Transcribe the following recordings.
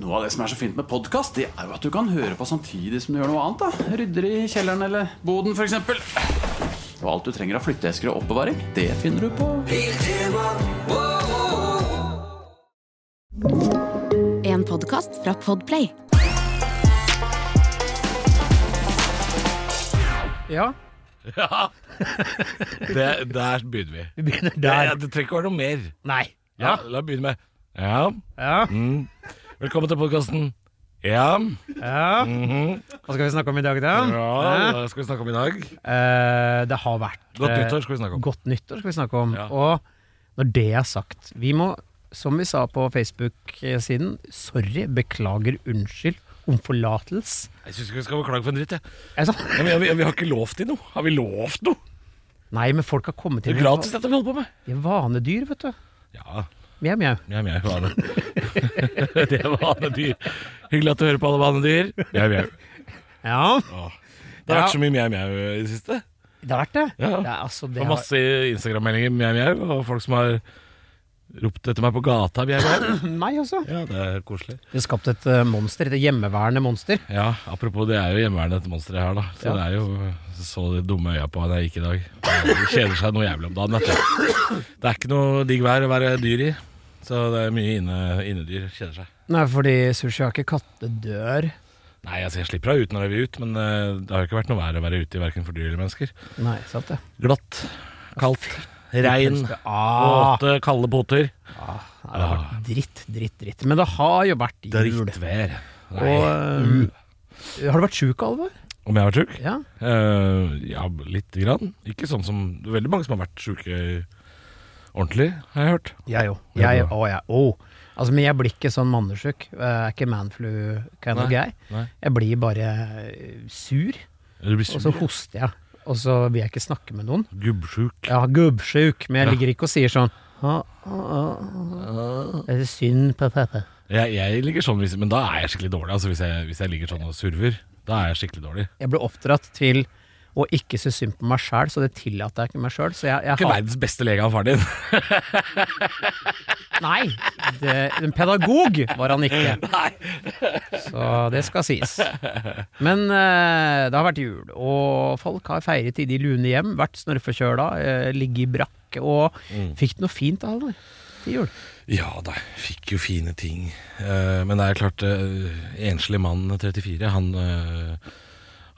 Noe av det som er så fint med podkast, det er jo at du kan høre på samtidig som du gjør noe annet. da Rydder i kjelleren eller boden, f.eks. Og alt du trenger av flytteesker og oppbevaring, det finner du på En podcast fra Podplay Ja, Det, der begynner vi. vi begynner Ja, der. det trenger ikke være noe mer. Nei. Ja, La meg begynne med Ja. Ja. Mm. Velkommen til podkasten. Ja. Ja. Hva skal vi snakke om i dag, da? ja. Hva skal vi snakke om i dag? Eh, det har vært Godt eh, nyttår skal vi snakke om. Godt nyttår skal vi snakke om. Ja. Og når det er sagt Vi må, som vi sa på Facebook-siden, sorry, beklager, unnskyld, omforlatelse. Jeg syns ikke vi skal beklage for en dritt. Jeg. Er det sant? Ja, men, ja, vi, vi har ikke lovt til noe. Har vi lovt noe? Nei, men folk har kommet Det inn er gratis dette vi holder på med. De er vanedyr, vet du. Ja, Mjau, mjau. mjau, mjau. Vane. det var vanedyr. Hyggelig at du hører på alle vanedyr. Mjau, mjau. Ja, Åh. Det har Ja. vært så mye mjau, mjau i det siste. det har vært det. Ja. Det, er, altså, det Og har, masse Instagram-meldinger mjau, mjau, og folk som har ropt etter meg på gata. Mjau, mjau. meg også. Ja, det er koselig. Vi har altså. skapt et eh, monster, et hjemmeværende monster. Ja, apropos, det er jo hjemmeværende dette monsteret her, da. Så Ja. det er jo så de dumme øya på da jeg gikk i dag. Det kjeder seg noe jævlig om dagen, vet du. Det er ikke noe digg vær å være dyr i. Så det er mye inne, innedyr. Kjeder seg. Nei, fordi sushi har ikke kattedør. Nei, altså, jeg slipper deg ut når jeg vil ut, men eh, det har jo ikke vært noe vær å være ute i verken for dyr eller mennesker. Nei, sant det. Glatt, kaldt, regn, Ah, våte, kalde poter. nei, det har Ah. vært dritt, dritt, dritt. Men det har jo vært jul. Drittvær. Og eh, Mm. har du vært sjuk, Alvor? Om jeg har vært sjuk? Ja. Eh, ja, lite grann. Ikke sånn som det er Veldig mange som har vært sjuke ordentlig, har jeg hørt. Jeg òg. Ja, Jeg, bra. å, jeg, å. Altså, men jeg blir ikke sånn mannesjuk. Jeg er ikke manflu kind of guy. Nei, nei. Jeg blir bare eh, sur, Du blir og så sur. hoster jeg. Og så vil jeg ikke snakke med noen. Gubbsjuk. Jeg har gubbsjuk, men jeg ligger ikke og sier sånn «Å, å, å, å». Det er synd på pappa. Jeg, jeg ligger sånn, hvis, men da er jeg skikkelig dårlig. Altså Hvis jeg, hvis jeg ligger sånn og surver, da er jeg skikkelig dårlig. Jeg ble oppdratt til å ikke synes synd på meg sjæl, så det tillater jeg ikke meg sjøl. Så jeg, jeg Ikke har verdens beste lege av faren din. Nei! Det, en pedagog var han ikke. Nei. Så det skal sies. Men eh, det har vært jul, og folk har feiret i de lune hjem, vært snørrforkjøla, eh, ligget i brakk, og fikk det noe fint av det til jul. Ja da, fikk jo fine ting. Eh, men det er klart, eh, enslig mann 34, han eh,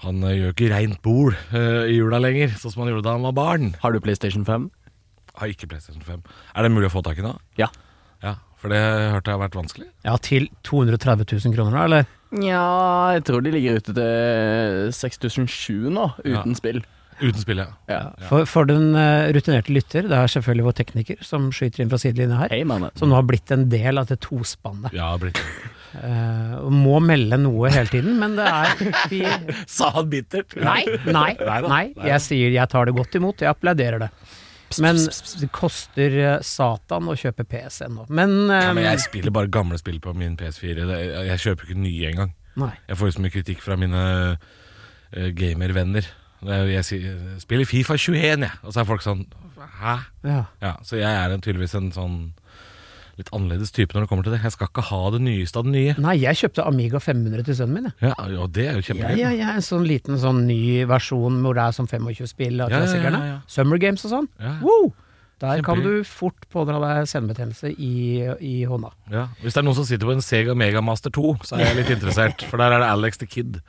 han eh, gjør ikke reint bol eh, i jula lenger, sånn som han gjorde da han var barn. Har du PlayStation 5? Har ikke PlayStation 5. Er det mulig å få tak i nå? Ja. Ja, for det hørte jeg har vært vanskelig. Ja, til 230 000 kroner, da, eller? Nja, jeg tror de ligger ute til 6007 nå, uten spill. Uten spill, ja. Ja. For, for den eh, rutinerte lytter, det er selvfølgelig vår tekniker som skyter inn fra sidelinja her, Hei, mannen. som nå har blitt en del av det tospannet. Ja, blitt. Eh, og må melde noe hele tiden, men det er vi, Sa han bittert? Nei, nei, da, nei. nei da. Jeg sier jeg tar det godt imot, jeg applauderer det. Men det koster eh, satan å kjøpe PS ennå. Men, eh, Ja, men jeg spiller bare gamle spill på min PS4. Det- Jeg kjøper ikke nye engang. nei. Jeg får jo så mye kritikk fra mine eh, gamervenner. Det er jo- Jeg sier, spiller Fifa 21, jeg. Og så er folk sånn Hæ? Ja. Ja, så jeg er en, tydeligvis en sånn litt annerledes type når det kommer til det. Jeg skal ikke ha det nyeste av det nye. nei, jeg kjøpte Amiga 500 til sønnen min. jeg. Ja, og det er Ja, jo kjempegøy. ja, ja, en sånn liten sånn ny versjon hvor det er sånn 25-spill av Ja, ja, ja, klassikerne. ja, ja. Summer Games og sånn. Ja, ja. Wow! Der kan Kjempegøy. du fort pådra deg senebetennelse i, i hånda. Ja. Hvis det er noen som sitter på en Sega Mega Master 2, så er jeg litt interessert. For der er det Alex the Kid.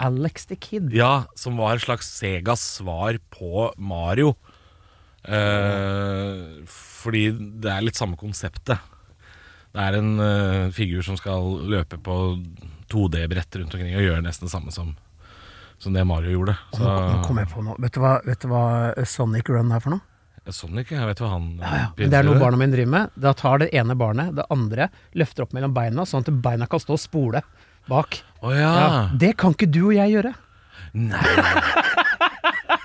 Alex the Kid. Ja, som var et slags Segas svar på Mario. Eh, fordi det er litt samme konseptet. Det er en eh, figur som skal løpe på 2D-brett rundt omkring og gjøre nesten det samme som, som det Mario gjorde. Nå, nå kom jeg på noe. Vet du, hva, vet du hva eh, Sonic Run er for noe? Ja, Sonic, jeg vet hva han Men det er noe barna mine driver med. Da tar det ene barnet det andre, løfter opp mellom beina, sånn at beina kan stå og spole bak. Å ja. Ja, det kan ikke du og jeg gjøre. Nei.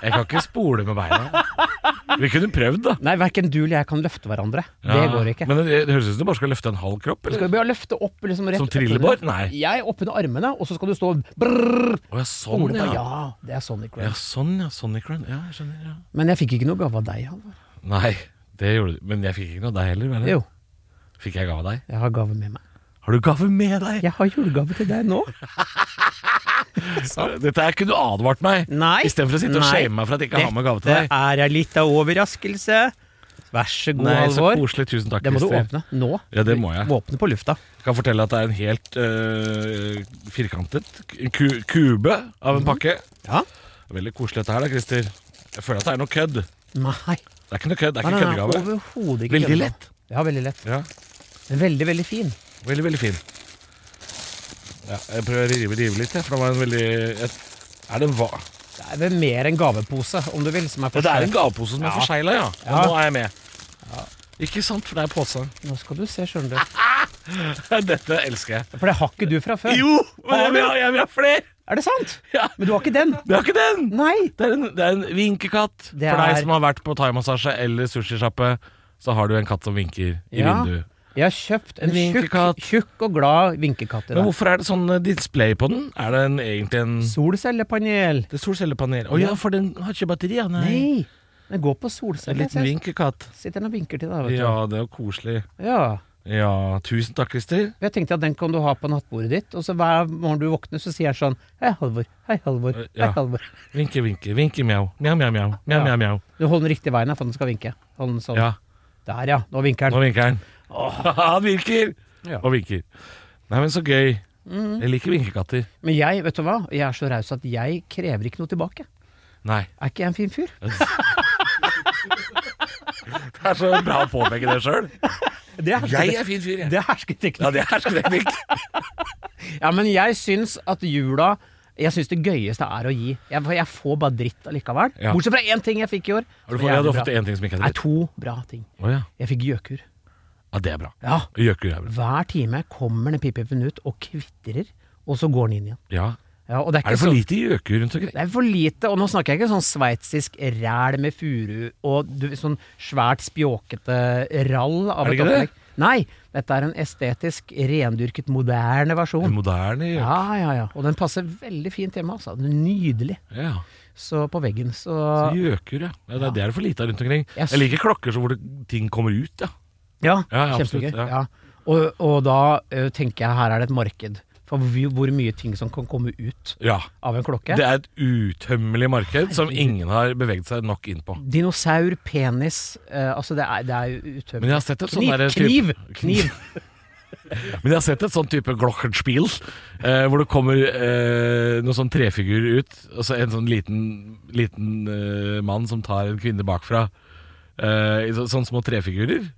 Jeg kan ikke spole med beina. Vi kunne prøvd, da. Nei, verken du eller jeg kan løfte hverandre. Det Ja, går ikke. Men det, det høres ut som du bare skal løfte en halv kropp. Du Eller? skal bare løfte opp liksom rett Som opp under- trillebår? Nei. Jeg er oppunder armene, og så skal du stå og brrrr, Å ja, spole sånn, på. ja. Ja, det er Sonic Run. Ja, sånn ja, Sonic Run. Ja, jeg skjønner, ja. Men jeg fikk ikke noe gave av deg, Halvor. Nei, det gjorde du. Men jeg fikk ikke noe av deg heller. Var det? Jo, Fikk jeg gave av deg? jeg har gave med meg. Har du gave med deg? Jeg har julegave til deg nå. Sant? Dette her kunne du advart meg. Nei. Istedenfor å sitte og Nei. shame meg for at jeg ikke har med gave til deg. Dette er ei lita overraskelse. Vær så god, Nei, så Halvor. koselig. Tusen takk, Det må du Christer. åpne nå. Ja, det må jeg. Åpne på lufta. Jeg kan fortelle at det er en helt øh, firkantet ku kube av en pakke. Mhm. Ja. Veldig koselig dette her, da, Christer. Jeg føler at det er noe kødd. Det Nei. er ikke noe kødd, det Nei, er ikke nei, nei, køddegave. Overhodet ikke. Veldig køddegave. lett. Ja, veldig lett. Ja, Men veldig, veldig fin. Veldig, veldig fin. Ja, jeg prøver å rive, rive litt, jeg, for det var en veldig et, Er det en hva? Det er vel mer en gavepose, om du vil, som er Ja, det er en forskjellig. gavepose som er Ja. forsegla, ja. Og Ja. nå er jeg med. Ikke sant, for det er pose. Nå skal du se, skjønner du. Dette elsker jeg. For det har ikke du fra før. Jo! Men jeg vil ha, jeg vil ha flere! Er det sant? Ja. Men du har ikke den? Vi har ikke den! Nei. Det er en, det er en vinkekatt. Det For er- deg som har vært på thaimassasje eller sushisjappe, så har du en katt som vinker i Ja. vinduet. Jeg har kjøpt en tjukk, Vinkekatt. tjukk og glad vinkekatt i Men dag. hvorfor er det sånn eh, display på den? Er det en, egentlig en Solcellepanel. Det er solcellepanel. Å ja, for den har ikke batteri, ja. Nei. Nei, den går på En solceller. liten vinkekatt. Sitter den og vinker til deg, vet du. Ja, det er jo koselig. Ja. Ja, tusen takk, Christer. Jeg tenkte at den kan du ha på nattbordet ditt, og så hver morgen du våkner, så sier han sånn Hei, Halvor. Hei, Halvor. Eh, Hei, ja. Halvor. Vinke, vinke, vinke, mjau. Mjau, mjau, mjau. Mjau, mjau, mjau. Du holder den riktig veien her, for den skal vinke. Hold den sånn. Ja, Der, ja. Nå vinker nå den. vinker den. Han virker! Ja. Og vinker. Nei, men så gøy. Mm. Jeg liker vinkekatter. Men jeg, vet du hva? Jeg er så raus at jeg krever ikke noe tilbake. Nei. Er ikke jeg en fin fyr? Det er så bra å påpeke det sjøl. Det er Jeg er fin fyr, jeg. det er hersketeknikk. Ja, det er hersketeknikk. Ja, men jeg syns at jula Jeg syns det gøyeste er å gi. Jeg, for jeg får bare dritt allikevel. Ja. Bortsett fra én ting jeg fikk i år. Har du som fått, er ja, du jævlig har fått bra. én ting som ikke Nei, er dritt. to bra ting. Å ja. Jeg fikk gjøkur. ja, det er bra. Ja. Gjøkur er bra. Hver time kommer den pipipen ut og kvitrer, og så går den inn igjen. Ja. Ja, og det er, Er det ikke for sånn- lite gjøkur rundt omkring? Det er for lite, og nå snakker jeg ikke sånn sveitsisk ræl med furu og du, sånn svært spjåkete rall av Er et det ikke det? opplegg. Nei, dette er en estetisk rendyrket, moderne En versjon. moderne gjøkur. Ja, ja, ja. Og den passer veldig fint hjemme, altså. Den er Nydelig. Ja. Så på veggen. Så Gjøkur, ja. ja. Det er det er det for lite av rundt omkring. Jeg s- Jeg liker klokker så hvor det, ting kommer ut, ja. Ja, Ja, ja, kjempegøy. absolutt, ja. Ja. Og, og da ø, tenker jeg her er det et marked for hvor hvor mye ting som kan komme ut Ja. av en klokke. Det er et utømmelig marked som ingen har beveget seg nok inn på. Dinosaur, penis ø, Altså, det er, det er jo Men jeg utømmelig. har sett et sånn Kniv, derre kniv! type- kniv. Men jeg har sett et sånn type Glockenspiel, eh, hvor det kommer eh, noen sånn trefigurer ut, og så en sånn liten, liten eh, mann som tar en kvinne bakfra. Eh, i så, sånne små trefigurer.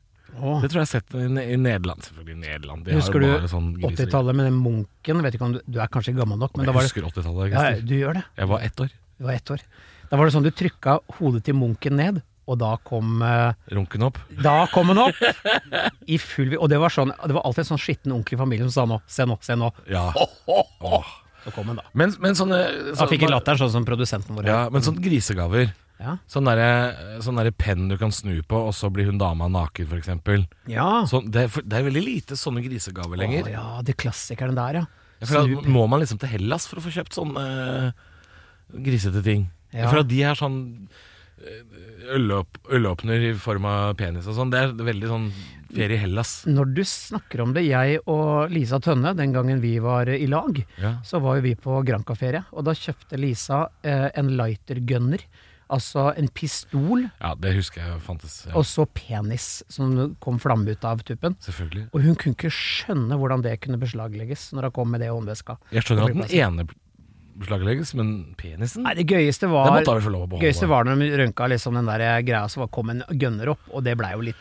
Åh. Det tror jeg jeg har sett i, i Nederland. Selvfølgelig i Nederland. De har jo Husker du bare sånn griser. 80-tallet med den munken? Vet ikke om du, du er kanskje gammel nok, men da Jeg var det husker 80-tallet. ja, Christer. Du gjør det. Jeg var ett år. Du var ett år. Da var det sånn du trykka hodet til munken ned, og da kom ø, Runken opp. Da kom han opp i full Og det var, sånn, det var alltid en sånn skitten onkel i familien som sa nå, se nå, se nå. Ja. Åh. Så kom han da. Men, men sånne Da fikk jeg sånne- latteren sånn som produsenten vår. Ja, men sånn grisegaver. Ja. Sånn derre sånn derre penn du kan snu på, og så blir hun dama naken, for eksempel. ja. Sånn, det, er, for- det er veldig lite sånne grisegaver lenger. Å, ja, det klassikeren der, ja. Jeg føler Snu- at må man liksom til Hellas for å få kjøpt sånne eh, grisete ting? Ja. Jeg føler at de er sånn eh, ølåp, ølåpner i form av penis og sånn. Det er veldig sånn ferie i Hellas. Når du snakker om det, jeg og Lisa Tønne, den gangen vi var i lag, Ja. så var jo vi på Granca-ferie, og da kjøpte Lisa eh, en lightergunner, altså en pistol, ja, det husker jeg fantes. Ja, og så penis som kom flamme ut av tuppen. selvfølgelig. Og hun kunne ikke skjønne hvordan det kunne beslaglegges når hun kom med det i håndveska. Jeg skjønner at den ene beslaglegges, men penisen? Nei, det gøyeste den var måtte han vel få lov å beholde. Gøyeste var når de rønka liksom den der greia som var- kom en gønner opp, og det blei jo litt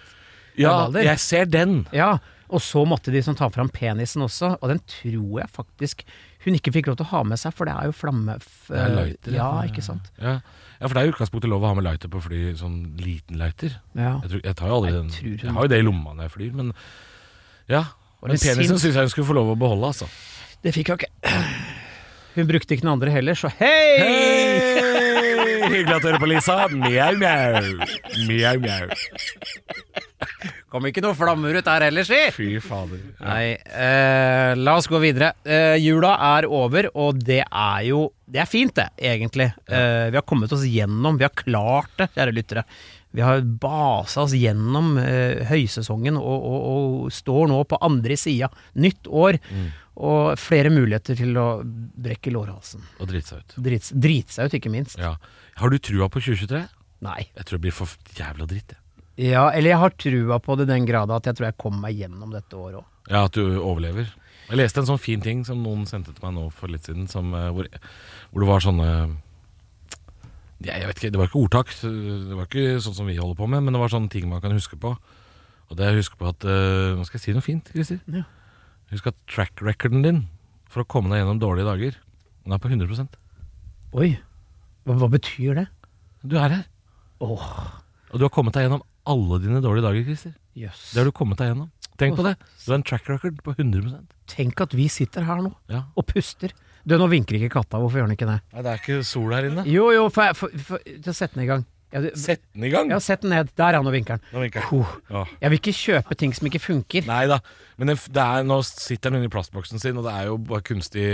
ja, Valder. jeg ser den. Ja, og så måtte de som ta fram penisen også, og den tror jeg faktisk hun ikke fikk lov til å ha med seg, for det er jo flamme... f- Det er lighter, ja, ja. ikke sant? Ja. ja, for det er i utgangspunktet lov å ha med lighter på fly, sånn liten lighter. Ja. Jeg, tror, jeg tar jo aldri Jeg den. tror hun- Jeg har jo det i lomma når jeg flyr, men ja. Var Men det sint? penisen syns jeg hun skulle få lov å beholde, altså. Det fikk hun ikke. Hun brukte ikke den andre heller, så hei! Hyggelig at du hører på, Lisa. Mjau, mjau. Mjau, mjau. Kom ikke noe flammer ut der heller, si! Fy fader. Nei, eh, la oss gå videre. Eh, jula er over, og det er jo Det er fint, det, egentlig. Eh, vi har kommet oss gjennom, vi har klart det, kjære lyttere. Vi har basa oss gjennom eh, høysesongen og, og, og står nå på andre sida. Nytt år Mm. og flere muligheter til å brekke lårhalsen. Og drite seg ut. Drits, dritseg ut, ikke minst. Ja. Har du trua på 2023? Nei. Jeg tror det blir for jævla dritt. jeg. Ja, eller jeg har trua på det i den grad at jeg tror jeg kommer meg gjennom dette året òg. Ja, At du overlever. Jeg leste en sånn fin ting som noen sendte til meg nå for litt siden, som, eh, hvor, hvor det var sånne ja, jeg vet ikke, Det var ikke ordtak, så det var ikke sånn som vi holder på med, men det var sånne ting man kan huske på. Og det jeg husker på at eh, Nå skal jeg si noe fint, Christer. Ja. Husk at track recorden din for å komme deg gjennom dårlige dager, den er på 100 Oi, hva, hva betyr det? Du er her. Åh, Og du har kommet deg gjennom alle dine dårlige dager, Christer. jøss. Det har du kommet deg gjennom. Tenk på det. Du har en track record på 100 Tenk at vi sitter her nå Ja. og puster. Du, nå vinker ikke katta, hvorfor gjør den ikke det? Nei, det er ikke sol her inne. Jo, jo, for, for, for, til å sette den i gang. Ja, du, Sett den i gang! ja, sett den ned. Der er han og vinkeren. Nå vinker jeg. Huh. Ja. Jeg vil ikke kjøpe ting som ikke funker. Nei da. Men det, det er, nå sitter den inni plastboksen sin, og det er jo bare kunstig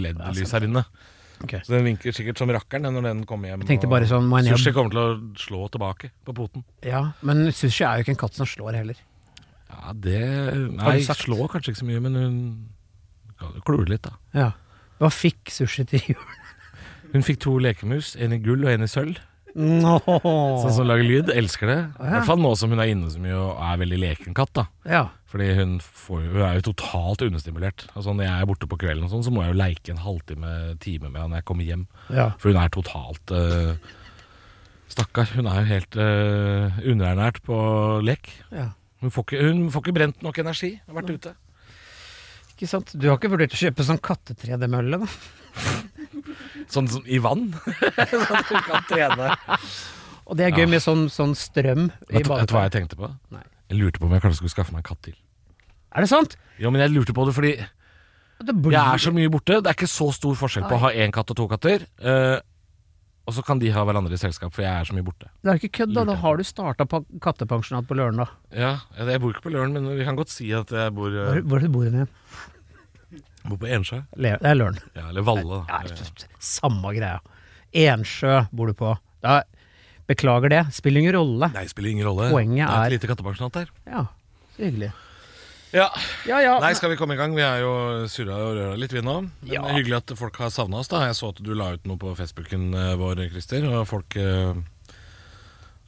LED-lys her inne. Ok. Så den vinker sikkert som rakkeren den, når den kommer hjem. Jeg tenkte bare sånn, må jeg ned- Sushi kommer til å slå tilbake på poten. Ja, men sushi er jo ikke en katt som slår heller. Ja, det Har Nei, du sagt? slår kanskje ikke så mye, men hun kan jo klore litt, da. Ja. Hva fikk sushi til jul? Hun fikk to lekemus, en i gull og en i sølv. Nå. Sånn som lager lyd. Elsker det. ja. I hvert fall nå som hun er inne så mye og er veldig leken katt, da. Ja. Fordi hun, får, jo- hun er jo totalt understimulert. Altså Når jeg er borte på kvelden, og sånn, så må jeg jo leike en halvtime time med henne når jeg kommer hjem. ja. For hun er totalt eh, Stakkar. Hun er jo helt eh, underernært på lek. ja. Hun får, ikke, hun får ikke brent nok energi. Hun har vært ute. Ikke sant? Du har ikke vurdert å kjøpe sånn kattetredemølle, da? Sånn som i vann. sånn at hun kan trene. Og det er gøy med sånn, sånn strøm i Vet du vet du hva jeg tenkte på? Nei. Jeg lurte på om jeg kanskje skulle skaffe meg en katt til. Er det sant? Ja, men jeg lurte på det fordi Det blir... Jeg er så mye borte. Det er ikke så stor forskjell på å ha én katt og to katter. Eh, og så kan de ha hverandre i selskap, for jeg er så mye borte. Det er ikke kødd, da. Da har du starta på kattepensjonat på Løren, da. Ja, Jeg bor ikke på Løren, men vi kan godt si at jeg bor, eh, Hvor, hvor er det du bor du igjen? bor på Ensjø. Le- Det er Løren. Ja, eller Valle. Ja, da. samme greia. Ensjø bor du på. Da, beklager det, spiller ingen rolle. Nei, spiller ingen rolle. Poenget det er er- et lite kattepensjonat der. Ja, så hyggelig. Ja. Ja ja. Nei, skal vi komme i gang? Vi er jo surra og røra litt, vi nå. Men Ja. Hyggelig at folk har savna oss. da Jeg så at du la ut noe på Facebooken eh, vår, Christer, og folk eh,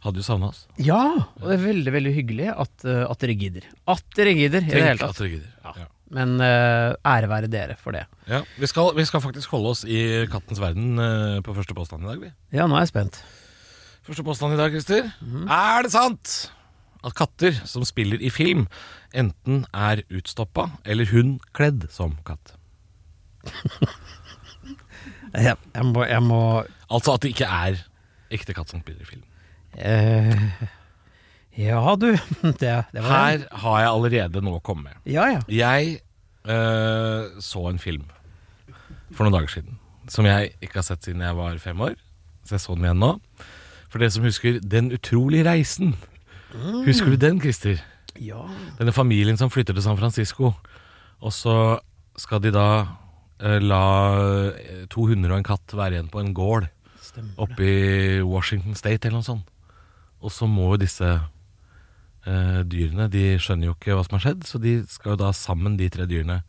hadde jo savna oss. ja, og det er veldig veldig hyggelig at, eh, at dere gidder. At dere gidder, i det hele at tatt. dere gidder. Ja. Ja. Men eh, ære være dere for det. vi, skal, vi skal faktisk holde oss i kattens verden eh, på første påstand i dag, vi. Ja, nå er jeg spent. Første påstand i dag, Christer. Er det sant at katter som spiller i film, enten er utstoppa eller hun kledd som katt? Jeg, jeg må, jeg må Altså at det ikke er ekte katt som spiller i film. eh, Ja, du. Det, det var det. Her har jeg allerede noe å komme med. Ja ja. Jeg eh, så en film for noen dager siden som jeg ikke har sett siden jeg var fem år. Så jeg så den igjen nå. For dere som husker Den utrolige reisen. Husker du den, Christer? Ja. Denne familien som flytter til San Francisco Og så skal de da eh, La eh, to hunder og en katt være igjen på en gård Stemmer. Oppe i Washington State eller noe sånt Og så må jo disse eh, dyrene De skjønner jo ikke hva som har skjedd Så de skal jo da sammen de tre dyrene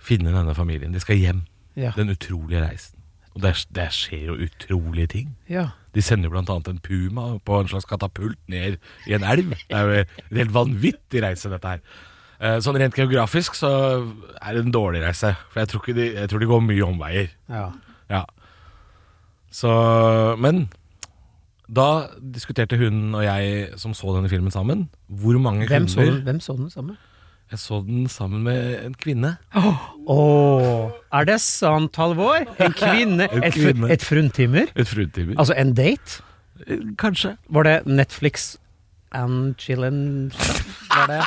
Finne denne familien De skal hjem Ja. Den utrolige reisen Og der, der skjer jo utrolige ting ja. de sender jo blant annet en puma på en slags katapult ned i en elv. Det er jo en helt vanvittig reise, dette her. Eh, Sånn rent geografisk så er det en dårlig reise, for jeg tror, ikke de, jeg tror de går mye omveier. ja. Ja. Så, men da diskuterte hun og jeg som så denne filmen sammen, hvor mange Hvem, så, hunder hvem så den samme? Jeg så den sammen med en kvinne. Åh, er det sant, Halvor? En kvinne? En Et, fru- kvinne. et fruntimmer? Et fruetimer. Altså en date? Altså, eh, Kanskje. Var det Netflix and chillin' Var det?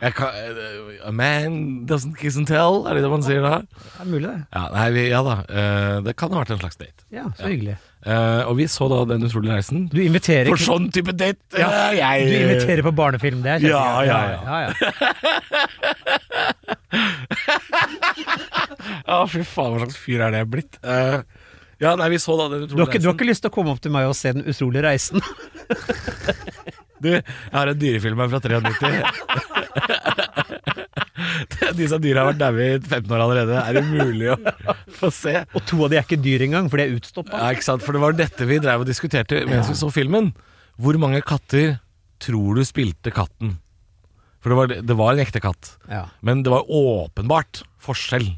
Jeg kan, eh, a man doesn't kiss and tell, er det det man sier da? Det er mulig, det. Ja, nei, vi, ja da. eh, det kan ha vært en slags date. Ja, så hyggelig. Eh, og vi så da Den utrolige reisen. Du inviterer, For sånn type date! eh, jeg, du inviterer på barnefilm, det er kjempegøy. Ja, ja, ja. ja. Ja, fy faen, hva slags fyr er det jeg er blitt? Eh, Ja, nei, vi så da den Du har, ikke, utrolige du har reisen. ikke lyst til å komme opp til meg og se Den utrolige reisen? Du, jeg har en dyrefilm her fra 93. Disse dyra har vært daue i 15 år allerede. Er det mulig å få se? Og to av de er ikke dyr engang, for de er utstoppa. Ja, ikke sant? For det var dette vi drev og diskuterte mens vi så filmen. Hvor mange katter tror du spilte katten? For det var, det var en ekte katt. Ja. Men det var åpenbart forskjell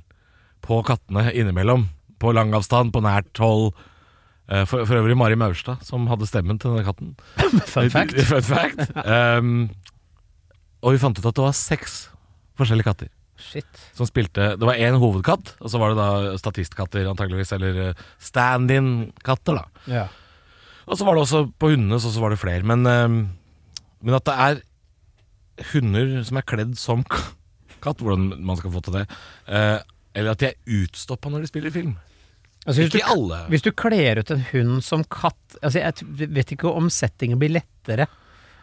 på kattene innimellom. På lang avstand, på nært hold. Eh, For, for øvrig Mari Maurstad som hadde stemmen til denne katten. Eh, Fun fact. Fun fact. Um, og vi fant ut at det var seks forskjellige katter Shit. som spilte Det var én hovedkatt, og så var det da statistkatter, antageligvis, eller eh, stand-in-katter, da. Ja. Og så var det også på hundene, så, så var det flere. Men, eh, men at det er hunder som er kledd som k- katt, hvordan man skal få til det eh, Eller at de er utstoppa når de spiller film. Altså, hvis, Ikke du, alle. hvis du kler ut en hund som katt altså, Jeg t- vet ikke om settingen blir lettere.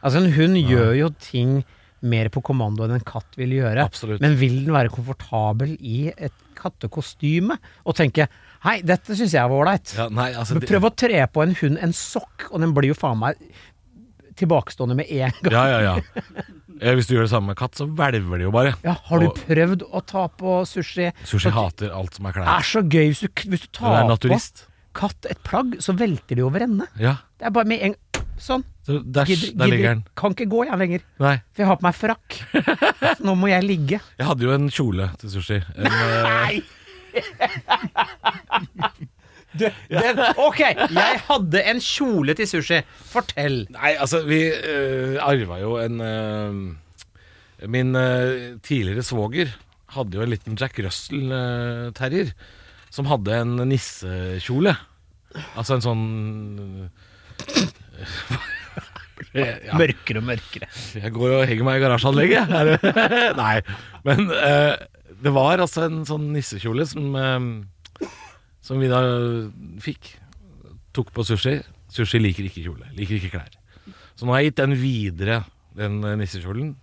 Altså, en hund gjør jo ting mer på kommando enn en katt vil gjøre. Absolutt. Men vil den være komfortabel i et kattekostyme og tenke 'hei, dette syns jeg var ålreit'? Ja, nei, altså, Men de- Prøv å tre på en hund en sokk, og den blir jo faen meg tilbakestående med en gang. Ja, ja, ja. Eh, Hvis du gjør det samme med katt, så hvelver de jo bare. Ja, har du Og prøvd å ta på sushi? Sushi hater alt som er Det klær. er så gøy hvis du, hvis du Hun er tar på naturist. katt et plagg, så velter de over ende. Ja. Det er bare med en Sånn. Så Dæsj, Gidder- der ligger gidder- den. Kan ikke gå jeg lenger, Nei. for jeg har på meg frakk. Så Nå må jeg ligge. Jeg hadde jo en kjole til sushi. En, Nei! Du, den, ok, jeg hadde en kjole til sushi. Fortell. Nei, altså, vi øh, arva jo en øh, Min øh, tidligere svoger hadde jo en liten Jack Russell-terrier. som hadde en nissekjole. Altså en sånn ja, Mørkere og mørkere. Jeg går og henger meg i garasjeanlegget. Er det- Nei. Men eh, det var altså en sånn nissekjole som, eh, som vi da fikk. Tok på sushi. Sushi liker ikke kjole. Liker ikke klær. Så nå har jeg gitt den videre, den eh, nissekjolen.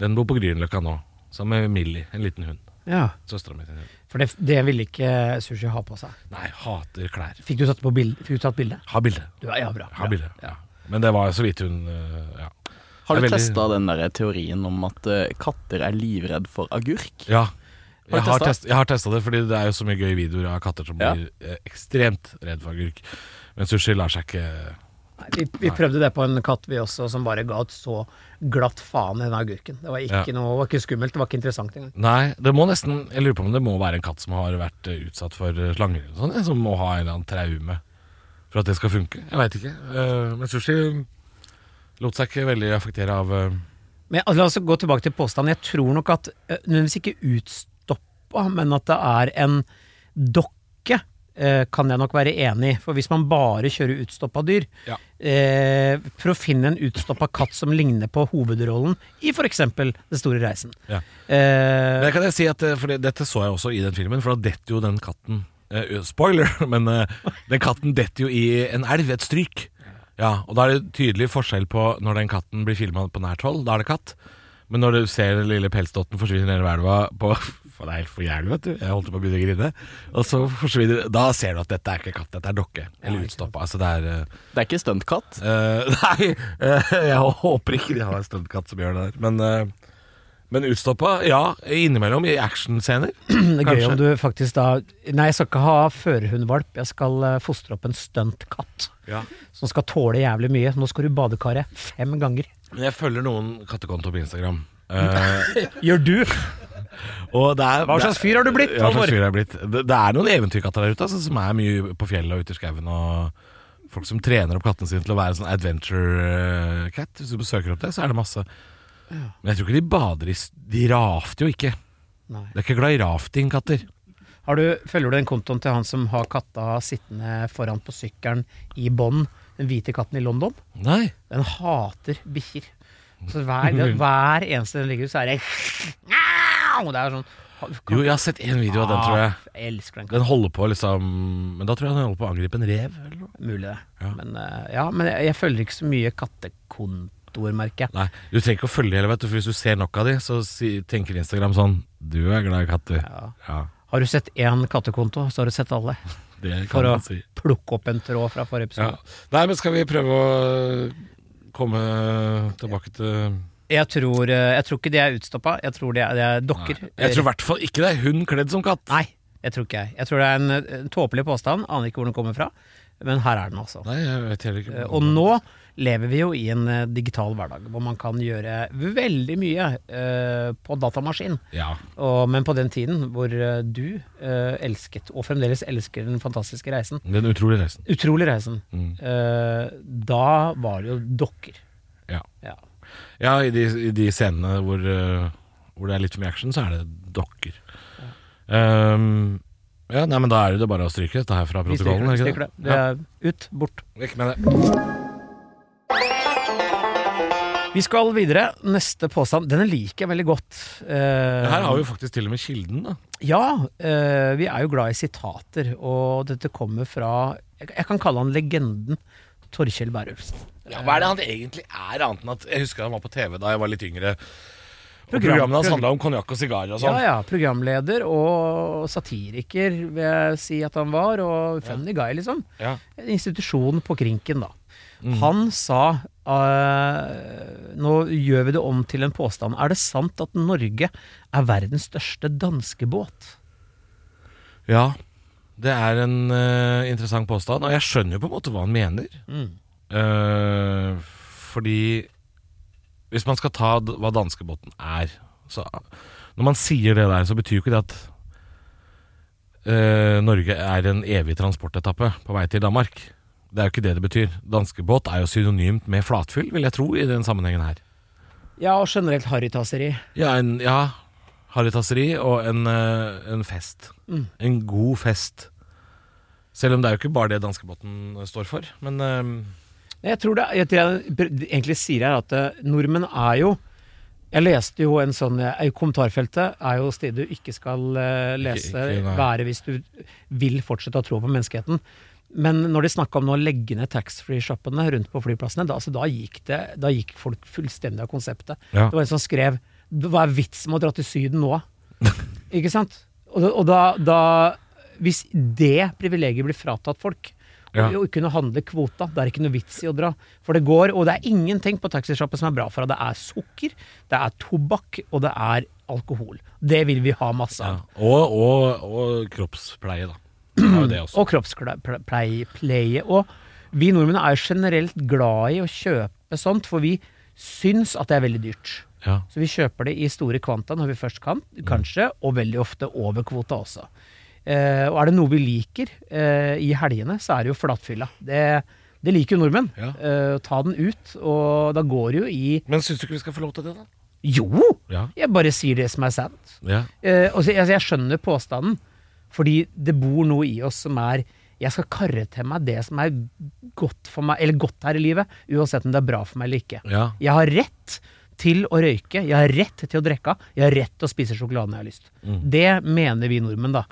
Den bor på Grünerløkka nå. Sammen med Millie, en liten hund. Ja, Søstera mi. sin hund. For det, det ville ikke sushi ha på seg. Nei, hater klær. Fikk du tatt, på bild, fikk du tatt bilde? Ha bilde. Du, ja, bra. Ha bra. bilde. Ja. Men det var så vidt hun eh, Ja. Har du Det er veldig- testa den der teorien om at eh, katter er livredd for agurk? Ja. Har du Jeg har, testet? test, jeg har testa det, fordi det er jo så mye gøye videoer av katter som Ja. blir eh, ekstremt redd for agurk. Men sushi lar seg ikke Nei, Vi, vi prøvde det på en katt vi også, som bare ga et så glatt faen i den agurken. Det var ikke, Ja. noe, det var ikke skummelt, det var ikke interessant engang. Nei, det må nesten Jeg lurer på om det må være en katt som har vært eh, utsatt for eh, slanger eller sånn, eh, som må ha en eller annen traume for at det skal funke. Jeg veit ikke. Eh, Men sushi lot seg ikke veldig affektere av eh, Men altså, la oss gå tilbake til påstanden. Jeg tror nok at eh, Nødvendigvis ikke utstoppa, men at det er en dokke, eh, kan jeg nok være enig i. For hvis man bare kjører utstoppa dyr Ja. eh, For å finne en utstoppa katt som ligner på hovedrollen i f.eks. Den store reisen. Ja. Eh, Men kan jeg si at, eh, for det- Dette så jeg også i den filmen, for da detter jo den katten eh, ø- Spoiler, men eh, den katten detter jo i en elv, et stryk. Ja, og Da er det tydelig forskjell på når den katten blir filma på nært hold, da er det katt. Men når du ser den lille pelsdotten forsvinne nedover elva på for Det er helt for jævlig, vet du. Jeg holdt på å begynne å grine. Og så forsvinner Da ser du at dette er ikke katt, dette er dokke. Eller utstoppa. Altså, det er eh, Det er ikke stuntkatt. Eh, nei, eh, jeg håper ikke de har en stuntkatt som gjør det der. Men, eh, men utstoppa, ja. Innimellom i actionscener. det er gøy kanskje. om du faktisk da Nei, jeg skal ikke ha førerhundvalp. Jeg skal eh, fostre opp en stuntkatt Ja. som skal tåle jævlig mye. Nå skal du i badekaret fem ganger. Men jeg følger noen kattekonto på Instagram. Eh, Gjør du? og det er, Hva slags fyr har du blitt, Ja, hva Halvor? slags fyr har jeg blitt? Det, det er noen eventyrkatter der ute altså, som er mye på fjellet og ute i skauen. Og folk som trener opp kattene sine til å være en sånn adventure eh, cat. Hvis du søker opp det, så er det masse. Men jeg tror ikke de bader i s- De rafter jo ikke. Nei. De er ikke glad i rafting, katter. Har du, følger du den kontoen til han som har katta sittende foran på sykkelen i bånd? Den hvite katten i London? Nei. Den hater bikkjer. Så hver, det, hver eneste den ligger ute, så er det Og det er sånn Jo, jeg har sett én video av den, tror jeg. Ah, Jeg elsker den katten. Den holder på liksom Men da tror jeg den holder på å angripe en rev. Eller noe. Mulig det. Ja. Men, eh, ja, men jeg, jeg følger ikke så mye kattekontoer, merker jeg. Nei, Du trenger ikke å følge heller, vet du, for hvis du ser nok av de, så si, tenker Instagram sånn Du er glad i katt, du. Ja. Ja. Har du sett én kattekonto, så har du sett alle. Det kan for å man si. plukke opp en tråd fra forrige Ja. episode. Nei, men skal vi prøve å øh, komme tilbake til Jeg, tror, eh, jeg tror ikke de er utstoppa. Jeg tror de er, de er dokker. Nei. Jeg tror i hvert fall ikke det er hun kledd som katt. Nei, jeg tror ikke jeg. Jeg tror det er en, en tåpelig påstand, aner ikke hvor den kommer fra, men her er den altså. Nei, jeg vet heller ikke. Eh, Og nå lever vi jo i en eh, digital hverdag hvor man kan gjøre veldig mye eh, på datamaskin. Ja. Og, men på den tiden hvor eh, du eh, elsket, og fremdeles elsker, den fantastiske reisen, Den utrolige reisen. utrolig reisen, Mm. eh, da var det jo dokker. Ja. Ja. Ja, i de, i de scenene hvor, eh, hvor det er litt for mye action, så er det dokker. Ehm, ja, nei, men da er det jo bare å stryke dette her fra Vi stryker protokollen. er det. ikke Stryker det. det? det er ut, bort. Ja, vekk med det. Vi skal videre. Neste påstand, denne liker jeg veldig godt. Eh, Her har vi jo faktisk til og med kilden, da. Ja, eh, vi er jo glad i sitater, og dette kommer fra Jeg, jeg kan kalle han legenden Torkjell Berulfsen. Ja, hva er det han egentlig er, annet enn at jeg husker han var på TV da jeg var litt yngre. Og Program- programmet hans handla om konjakk og sigarer Ja, og sånn. ja. Programleder og satiriker, vil jeg si at han var. Og funny guy, liksom. Ja. En institusjon på krinken, da. Han sa eh, Nå gjør vi det om til en påstand. Er det sant at Norge er verdens største danskebåt? Ja, det er en eh, interessant påstand, og jeg skjønner jo på en måte hva han mener. Eh, fordi hvis man skal ta d- hva danskebåten er så, Når man sier det der, så betyr jo ikke det at eh, Norge er en evig transportetappe på vei til Danmark. Det er jo ikke det det betyr. Danskebåt er jo synonymt med flatfyll, vil jeg tro, i den sammenhengen her. Ja, og generelt harrytasseri. Ja, en, ja harrytasseri og en, eh, en fest. Mm. En god fest. Selv om det er jo ikke bare det danskebåten eh, står for. Men eh, Nei, Jeg tror det, jeg, tror jeg egentlig sier her at eh, nordmenn er jo Jeg leste jo en sånn eh, i Kommentarfeltet er jo stedet du ikke skal eh, lese, ikke, nei. være hvis du vil fortsette å tro på menneskeheten. Men når de snakka om nå å legge ned taxfree-sjappene rundt på flyplassene, da, altså, da, gikk det, da gikk folk fullstendig av konseptet. Ja. Det var en som skrev Hva er vitsen med å dra til Syden nå? Ikke sant? Og, da- og da, da Hvis det privilegiet blir fratatt folk, Ja. og, og kunne handle kvota, det er ikke noe vits i å dra. For det går, og det er ingenting på taxisjappen som er bra for deg. Det er sukker, det er tobakk, og det er alkohol. Det vil vi ha masse ja. av. og, og, og kroppspleie, da. Det er jo det også. Og kroppspleie. Og vi nordmenn er jo generelt glad i å kjøpe sånt, for vi syns at det er veldig dyrt. Ja. Så vi kjøper det i store kvanta når vi først kan, kanskje, og veldig ofte over kvota også. Eh, og er det noe vi liker eh, i helgene, så er det jo flatfylla. Det, det liker jo nordmenn. Ja. Eh, ta den ut, og da går det jo i Men syns du ikke vi skal få lov til det, da? Jo! Ja. Jeg bare sier det som er sant. ja. Eh, og så, altså, jeg skjønner påstanden, fordi det bor noe i oss som er jeg skal karre til meg det som er godt for meg, eller godt her i livet, uansett om det er bra for meg eller ikke. Ja. Jeg har rett til å røyke, jeg har rett til å drikke, jeg har rett til å spise sjokoladen jeg har lyst. Mm. Det mener vi nordmenn, da.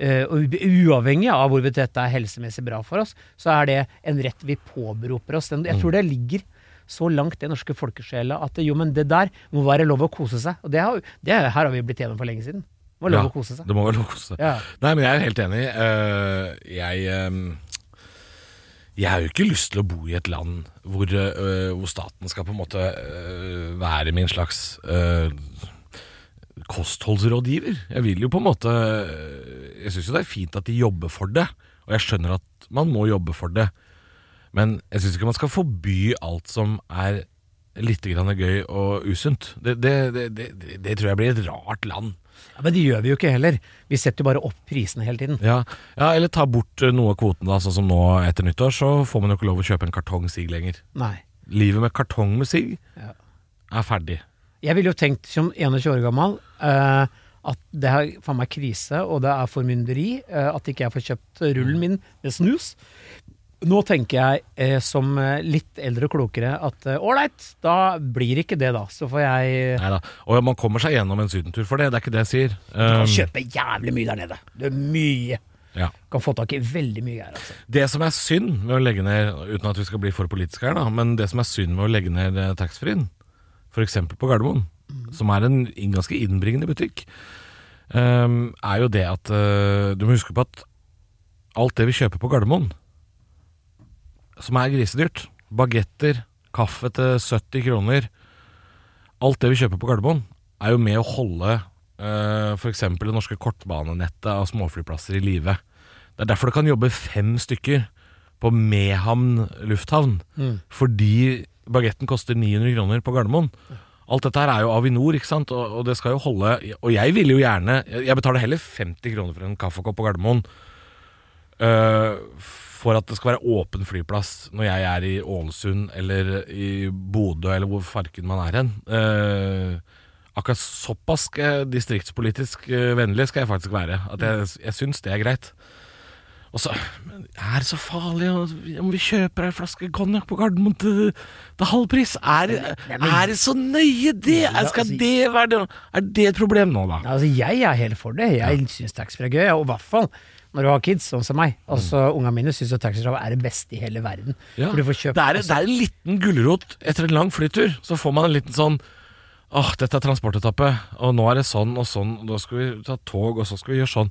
Eh, og u- uavhengig av hvorvidt dette er helsemessig bra for oss, så er det en rett vi påberoper oss. Den- Jeg Mm. tror det ligger så langt i den norske folkesjela at jo, men det der må være lov å kose seg. Og det, har, det her har vi blitt enige om for lenge siden. Det var lov Ja, å kose seg. Det må være lov å kose seg. Ja. Nei, men jeg er jo helt enig. Eh, jeg eh, Jeg har jo ikke lyst til å bo i et land hvor, eh, hvor staten skal på en måte eh, være min slags eh, kostholdsrådgiver. Jeg vil jo på en måte eh, Jeg syns jo det er fint at de jobber for det, og jeg skjønner at man må jobbe for det. Men jeg syns ikke man skal forby alt som er litt grann gøy og usunt. Det, det, det, det, det tror jeg blir et rart land. Ja, men det gjør vi jo ikke heller. Vi setter jo bare opp prisene hele tiden. Ja, ja eller ta bort eh, noe av kvoten da Sånn som nå etter nyttår Så får man jo ikke lov å kjøpe en kartong sig lenger Nei. Livet med kartong med sig Ja. er ferdig Jeg ville jo tenkt som 21 år gammel eh, at det er faen meg krise, og det er formynderi eh, at ikke jeg får kjøpt rullen Mm. min med snus. Nå tenker jeg eh, som eh, litt eldre og klokere at eh, ålreit, da blir ikke det, da. Så får jeg eh, Neida. Og man kommer seg gjennom en sydentur for det Det er ikke det jeg sier kan um, kjøpe jævlig mye der nede. Det er mye. ja. Kan få tak i veldig mye her, altså. Det som er synd med å legge ned Uten at vi skal bli for politiske her da Men det som er synd med å legge ned eh, taxfree-en For eksempel på Gardermoen Som er en in- ganske ehm, innbringende butikk um, Er jo det at eh, Du må huske på at alt det vi kjøper på Gardermoen, som er grisedyrt, bagetter, kaffe til 70 kroner, alt det vi kjøper på Gardermoen, er jo med å holde eh, for f.eks. det norske kortbanenettet av småflyplasser i live. Det er derfor det kan jobbe fem stykker på Mehamn lufthavn, fordi bagetten koster 900 kroner på Gardermoen. Alt dette her er jo Avinor, ikke sant? Og, og det skal jo holde Og jeg ville jo gjerne Jeg betaler heller 50 kroner for en kaffekopp på Gardermoen eh, for at det skal være åpen flyplass når jeg er i Ålesund eller i Bodø eller hvor farken man er hen. Eh, akkurat såpass skal jeg- distriktspolitisk eh, vennlig skal jeg faktisk være. At jeg, jeg syns det er greit. Og så men Er det så farlig å- om vi kjøper ei flaske konjakk på Gardermoen til, til halv pris? Er, er det så nøye, det? Er, skal det være det? Er det et problem nå, da? Altså, jeg er helt for det. Jeg syns taxfree er gøy, og i hvert fall når du har kids, sånn som meg. Altså, Ungene mine syns taxfree er det beste i hele verden. Mm. Ja. For du får kjøpt det, er, det er en liten gulrot etter en lang flytur. Så får man en liten sånn Åh, dette er transportetappe, og nå er det sånn og sånn, og da skal vi ta tog, og så skal vi gjøre sånn.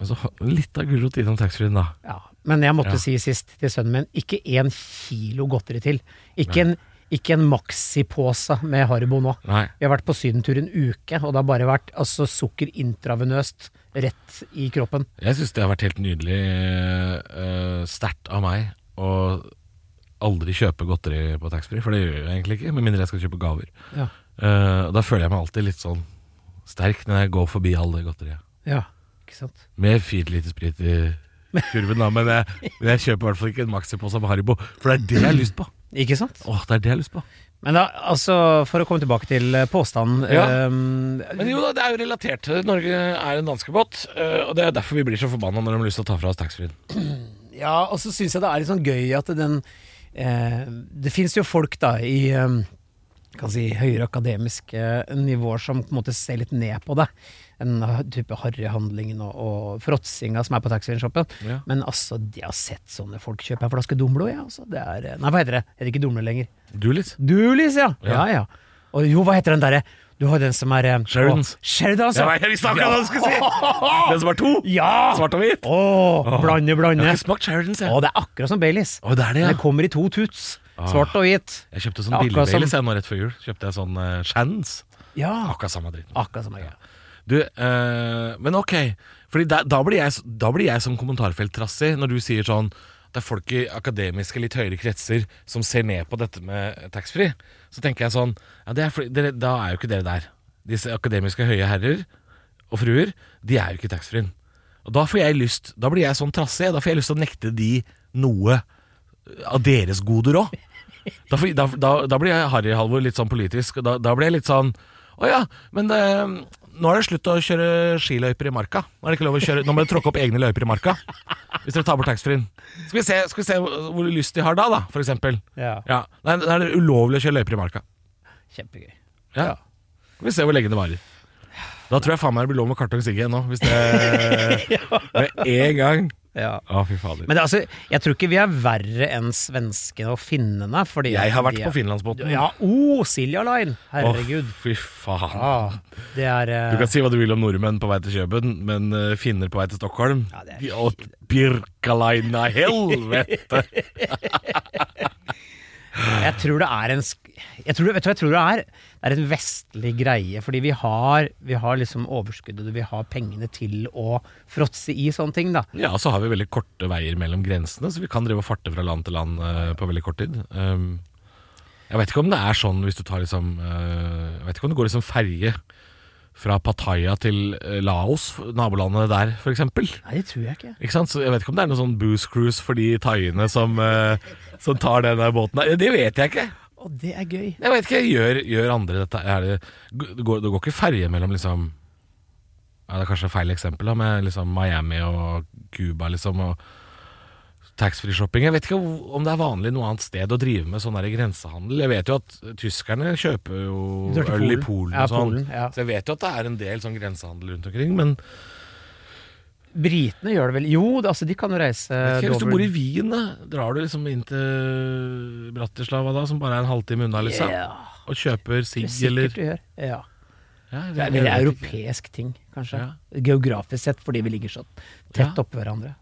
Men så litt av gulrot innom taxfree-en, da. Ja, men jeg måtte Ja. si sist til sønnen min, ikke én kilo godteri til. Ikke en, ikke en maxipose med Haribo nå. Nei. Vi har vært på sydentur en uke, og det har bare vært altså, sukker intravenøst rett i kroppen. Jeg syns det har vært helt nydelig eh, sterkt av meg å aldri kjøpe godteri på taxfree, for det gjør jeg egentlig ikke, med mindre jeg skal kjøpe gaver. Ja. Eh, og da føler jeg meg alltid litt sånn sterk når jeg går forbi all det godteriet. Ja, ikke sant? Med fire liter sprit i kurven, da, men jeg, men jeg kjøper i hvert fall ikke en maxipose med Haribo, for det er det jeg har lyst på. Ikke sant? Åh, det er det jeg har lyst på. Men da, altså, for å komme tilbake til eh, påstanden Ja. ehm, Men jo da, det er jo relatert til det. Norge er en danskebåt, eh, og det er derfor vi blir så forbanna når de har lyst til å ta fra oss taxfree-en. Ja, og så syns jeg det er litt sånn gøy at den eh, Det fins jo folk da i eh, kan si, høyere akademiske nivåer som på en måte ser litt ned på det. Den type harryhandlingen og, og fråtsinga som er på taxfree-shoppen. Ja. Men altså, de har sett sånne folk kjøpe en flaske Dumlo, ja. Altså. Det er, eh, nei, hva heter det? Heter ikke Dumlo lenger. Du litt? Dulis, ja. ja. ja, Og jo, hva heter den derre? Du har den som er eh, Sheridans. å, Sheridans, ja. jeg visste akkurat hva du skulle si! Den som har to! Ja! Svart og hvit. Å, blande, Jeg blande. har ikke smakt Sheridans, Å, jeg. det er akkurat som Baileys. Å, det er det, ja. Ah. Men Det kommer i to tuts. Svart og hvit. Jeg kjøpte Ja, sånn akkurat billigbaileys som- jeg nå rett før jul. Kjøpte jeg sånn uh, Shans. Ja, Akkurat samme dritten. akkurat som jeg gjør. Du, eh, men ok Fordi da, da, blir jeg, s- da blir jeg som kommentarfelttrassig Når du sier sånn Det er folk i akademiske, litt høyere kretser Som ser ned på dette med taxfree Så tenker jeg sånn ja, det er fordi, dere, Da er jo ikke dere der Disse akademiske høye herrer og fruer De er jo ikke i taxfree-en Og da får jeg lyst Da blir jeg sånn trassig Da får jeg lyst til å nekte de noe Av deres goder også da, får- da, da, da blir jeg Harry Halvor litt sånn politisk. og Da, da blir jeg litt sånn Å ja, men eh, nå er det slutt å kjøre skiløyper i marka. Nå er det ikke lov å kjøre Nå må dere tråkke opp egne løyper i marka. Hvis dere tar bort taxfree-en. Skal, vi se- skal vi se hvor hvor lyst de har da, da, for eksempel. Ja. Ja. Nei, da er det ulovlig å kjøre løyper i marka. Kjempegøy. Ja. Skal vi se hvor lenge det varer. Da tror jeg faen meg det blir lov med kartong sigg igjen nå, hvis det Med en gang. Ja. Å, fy fader. Men det, er altså, jeg tror ikke vi er verre enn svenskene og finnene. Fordi Jeg har vært de er- på Finlandsbåten. Ja, oh, Silja Line! Herregud. Å, fy faen. Ah, det er eh, Du kan si hva du vil om nordmenn på vei til Kjøben, men eh, finner på vei til Stockholm Ja, det er Vi- Åt Birkaleina helvete! Jeg tror det er en sk- jeg tror, Vet du hva jeg tror det er? Det er en vestlig greie. Fordi vi har, vi har liksom overskuddet, og vi har pengene til å fråtse i sånne ting, da. Ja, og så har vi veldig korte veier mellom grensene, så vi kan drive og farte fra land til land eh, på veldig kort tid. Um, jeg vet ikke om det er sånn hvis du tar liksom eh, Jeg vet ikke om det går liksom ferje fra Pattaya til eh, Laos, nabolandet der, for eksempel. Nei, det tror jeg ikke. Ikke sant? Så jeg vet ikke om det er noen sånn booze cruise for de thaiene som, eh, som tar den der båten. der. Det vet jeg ikke. Å, det er gøy. Jeg vet ikke, gjør, gjør andre dette? Er det, det, går, det går ikke ferje mellom liksom ja, Det er kanskje feil eksempel, da, med liksom Miami og Cuba liksom, og taxfree-shopping. Jeg vet ikke hvor- om det er vanlig noe annet sted å drive med sånn der grensehandel. Jeg vet jo at tyskerne kjøper Du jo drar til øl i Polen. Polen og Ja, sånn. Polen, ja. Så jeg vet jo at det er en del sånn grensehandel rundt omkring, men Britene gjør det vel? Jo, det- altså de kan jo reise vet ikke, hvis du dobbelt. bor i Wien, da, drar du liksom inn til Bratislava da, som bare er en halvtime unna, liksom, Ja, og kjøper det er sigg eller sikkert du gjør. Ja. ja, Det er en jeg veldig vet ikke. europeisk ting, kanskje. Geografisk sett, fordi vi ligger så tett Ja. oppå hverandre.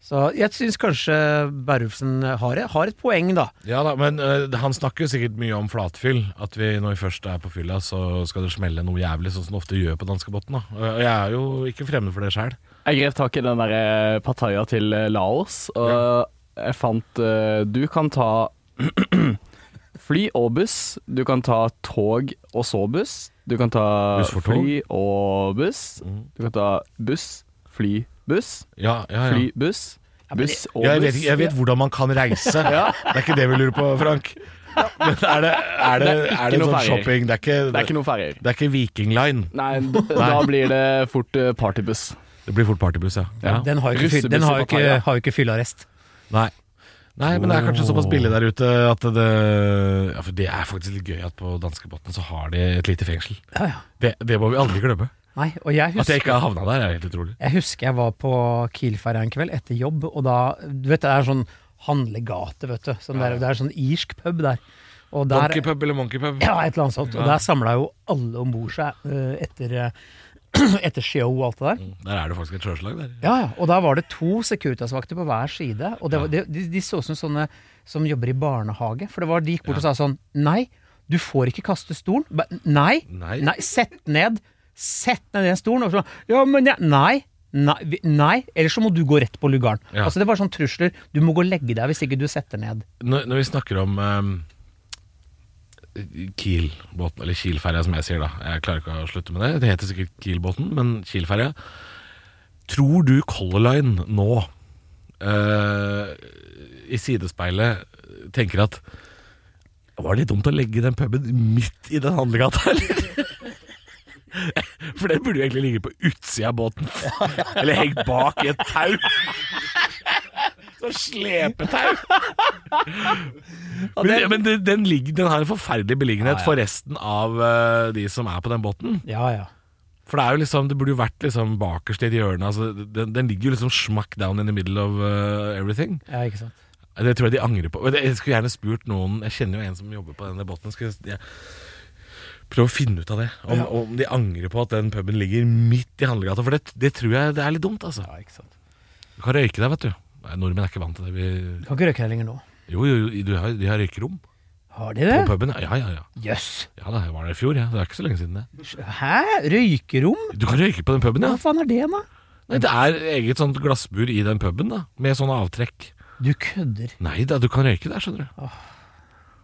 Så jeg syns kanskje Berufsen har, har et poeng, da. Ja da, men eh, han snakker jo sikkert mye om flatfyll. At vi når vi først er på fylla, så skal det smelle noe jævlig, sånn som det ofte gjør på danskebotn. da. Og Jeg er jo ikke fremmed for det sjøl. Jeg grep tak i den der eh, Pattaya til eh, Laos, og jeg fant eh, Du kan ta fly og buss. Du kan ta tog og så buss. Du kan ta Buss for tog? Mm. fly og buss. Du kan ta buss, fly, buss. Ja, ja, ja. Fly, buss. Buss og Ja, jeg, vet, buss. ikke- jeg vet hvordan man kan reise. Det er ikke det vi lurer på, Frank. Men er det, er det, Det er ikke er det noe sånn ferjer. shopping Det er ikke, Det er ikke noe ferger. det er ikke Viking Line. Nei, d- da blir det fort eh, partybuss. Det blir fort partybuss, ja. ja. Den har jo ikke, fyll- den har jo ikke, Russebuss i Pattaya. har jo ikke fyllearrest. Nei. Nei, men det er kanskje såpass billig der ute at det ja, For det er faktisk litt gøy at på danskebotn så har de et lite fengsel. Ja, ja. Det, det må vi aldri glemme. Nei, og jeg At jeg husker ikke har havna der, er helt utrolig. Jeg husker jeg var på Kielferja en kveld etter jobb, og da Du vet, det er sånn handlegate, vet du. Sånn der, det er sånn irsk pub der. Og der Donkeypub eller monkeypub? Ja, et eller annet sånt. Og der samla jo alle om bord seg eh, etter, eh, etter show og alt det der. Der er det faktisk et sjøslag der. Ja, ja. Og der var det to Securitas-vakter på hver side. Og det var, de, de, de så ut som sånne som jobber i barnehage. For det var, de gikk bort og sa sånn Nei, du får ikke kaste stolen. Ba, nei, Nei. Sett ned. Sett ned den stolen. Og så, ja, men jeg, nei. Nei, vi- nei, ellers så må du gå rett på lugaren. Ja. Altså Det var sånn trusler. Du må gå og legge deg hvis ikke du setter ned. Når, når vi snakker om eh, Kiel-båten, eller Kiel-ferja som jeg sier, da. Jeg klarer ikke å slutte med det. Det heter sikkert Kiel-båten, men Kiel-ferja. Tror du Color Line nå, eh, i sidespeilet, tenker at var det litt dumt å legge den puben midt i den handlegata, eller? For den burde jo egentlig ligge på utsida av båten. Eller hengt bak i et tau. Sånn slepetau. Men, men den, den, ligger, den har en forferdelig beliggenhet for resten av eh, de som er på den båten. Ja, ja. For det er jo liksom, det burde jo vært liksom bakerst i et hjørne. Altså, den, den ligger jo liksom smack down in the middle of eh, everything. ja ikke sant? Det tror jeg de angrer på. Men Jeg skulle gjerne spurt noen Jeg kjenner jo en som jobber på denne båten. Skulle jeg- jeg prøve å finne ut av det. Om, om de angrer på at den puben ligger midt i handlegata. For det, det tror jeg det er litt dumt, altså. Ja, ikke sant. Du kan røyke der, vet du. Nei, nordmenn er ikke vant til det. Vi, Du kan ikke røyke her lenger nå. jo, jo, jo, de har, de har røykerom Har de på det? puben. Ja, ja, ja. Jøss. Ja da, jeg var der i fjor, ja. det er ikke så lenge siden det. Hæ? Røykerom? Du kan røyke på den puben, ja. Hva faen er det, da? Nei, det er eget sånt glassbur i den puben, da. Med sånne avtrekk. Du kødder. Nei da, du kan røyke der, skjønner du.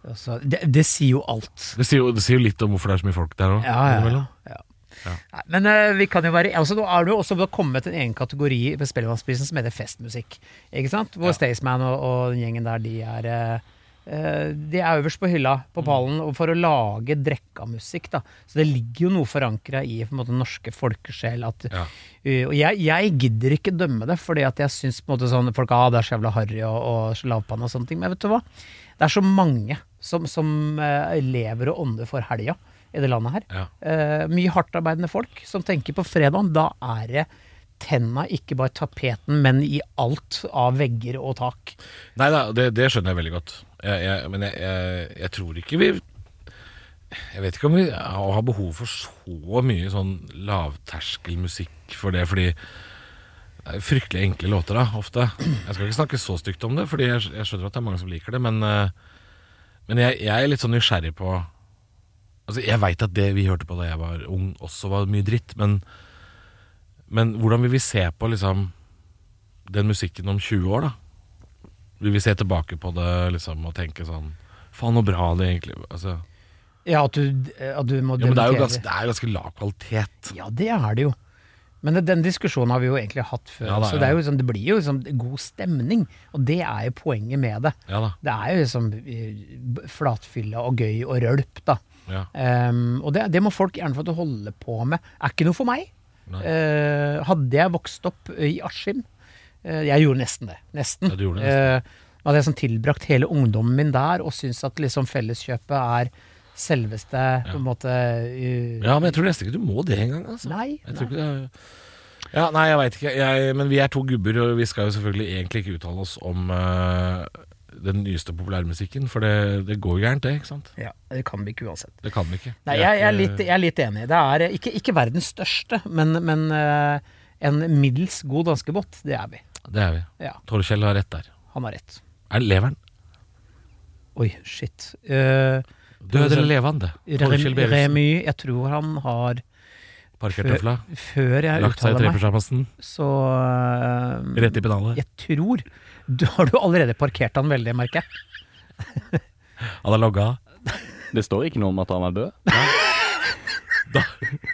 Altså, det, det sier jo alt. Det sier jo, det sier jo litt om hvorfor det er så mye folk der òg. Ja, ja, ja. ja. Nei, men eh, vi kan jo være altså, Nå er det jo også kommet en egen kategori ved Spellemannsprisen som heter festmusikk. Ikke sant? Hvor Staysman og, og den gjengen der, de er eh, eh, De er øverst på hylla på Mm. pallen og for å lage drekkamusikk. da. Så det ligger jo noe forankra i på en måte, den norske folkesjel. At, Ja. Uh, og jeg, jeg gidder ikke dømme det, fordi at jeg syns på en måte sånn folk ah, det er så jævla harry og, og så lavpanna og sånne ting. Men vet du hva? Det er så mange som, som eh, lever og ånder for helga i det landet her. Ja. Eh, mye hardtarbeidende folk som tenker på fredagen. Da er det tenna, ikke bare tapeten, men i alt av vegger og tak. Nei da, det, det skjønner jeg veldig godt. Jeg, jeg, men jeg, jeg, jeg tror ikke vi Jeg vet ikke om vi har behov for så mye sånn lavterskelmusikk for det, fordi det er fryktelig enkle låter, da, ofte. Jeg skal ikke snakke så stygt om det, Fordi jeg, jeg skjønner at det er mange som liker det, men, eh, men jeg, jeg er litt sånn nysgjerrig på Altså, jeg veit at det vi hørte på da jeg var ung, også var mye dritt, men, men hvordan vil vi se på liksom den musikken om 20 år, da? Vil vi se tilbake på det liksom, og tenke sånn Faen, så bra det egentlig altså, Ja, at du, eh, at du må ja, men det, er jo debutere. ganske, det er jo ganske lav kvalitet. Ja, det er det jo. Men det- den diskusjonen har vi jo egentlig hatt før. Ja, da, Så det, er ja. jo liksom, det blir jo liksom god stemning, og det er jo poenget med det. Ja da. Det er jo liksom eh, flatfylle og gøy og rølp, da. Ja. Ehm, og det, det må folk gjerne få til å holde på med. Er ikke noe for meg. Nei. Eh, hadde jeg vokst opp i Askim eh, Jeg gjorde nesten det. Nesten. Ja, du gjorde det Eh, hadde jeg sånn tilbrakt hele ungdommen min der og syns at liksom felleskjøpet er selveste på en måte eh, ja, men jeg tror nesten ikke du må det engang. Altså. Nei, jeg tror ikke det er- ja, nei, jeg veit ikke. Jeg, men vi er to gubber, og vi skal jo selvfølgelig egentlig ikke uttale oss om eh, den nyeste populærmusikken, for det, det går jo gærent, det. ikke sant? Ja, det kan vi ikke uansett. Det kan vi ikke. Nei, Vi jeg, jeg, er ikke- litt, jeg er litt enig. Det er eh, ikke, ikke verdens største, men, men eh, en middels god danskebåt, det er vi. det er vi. Ja, Torkjell har rett der. han har rett. Er det leveren? Oi, shit. Eh, Død eller levende? Torkjell Rem- Beriksen. Remy, jeg tror han har Parkert tøfla. Før jeg Lagt seg i uttaler meg, trepysjamasen. så eh, Rett i pennalet. Jeg tror du Har du allerede parkert han veldig, merker jeg? Han er logga av. Det står ikke noe om at han er død. Da,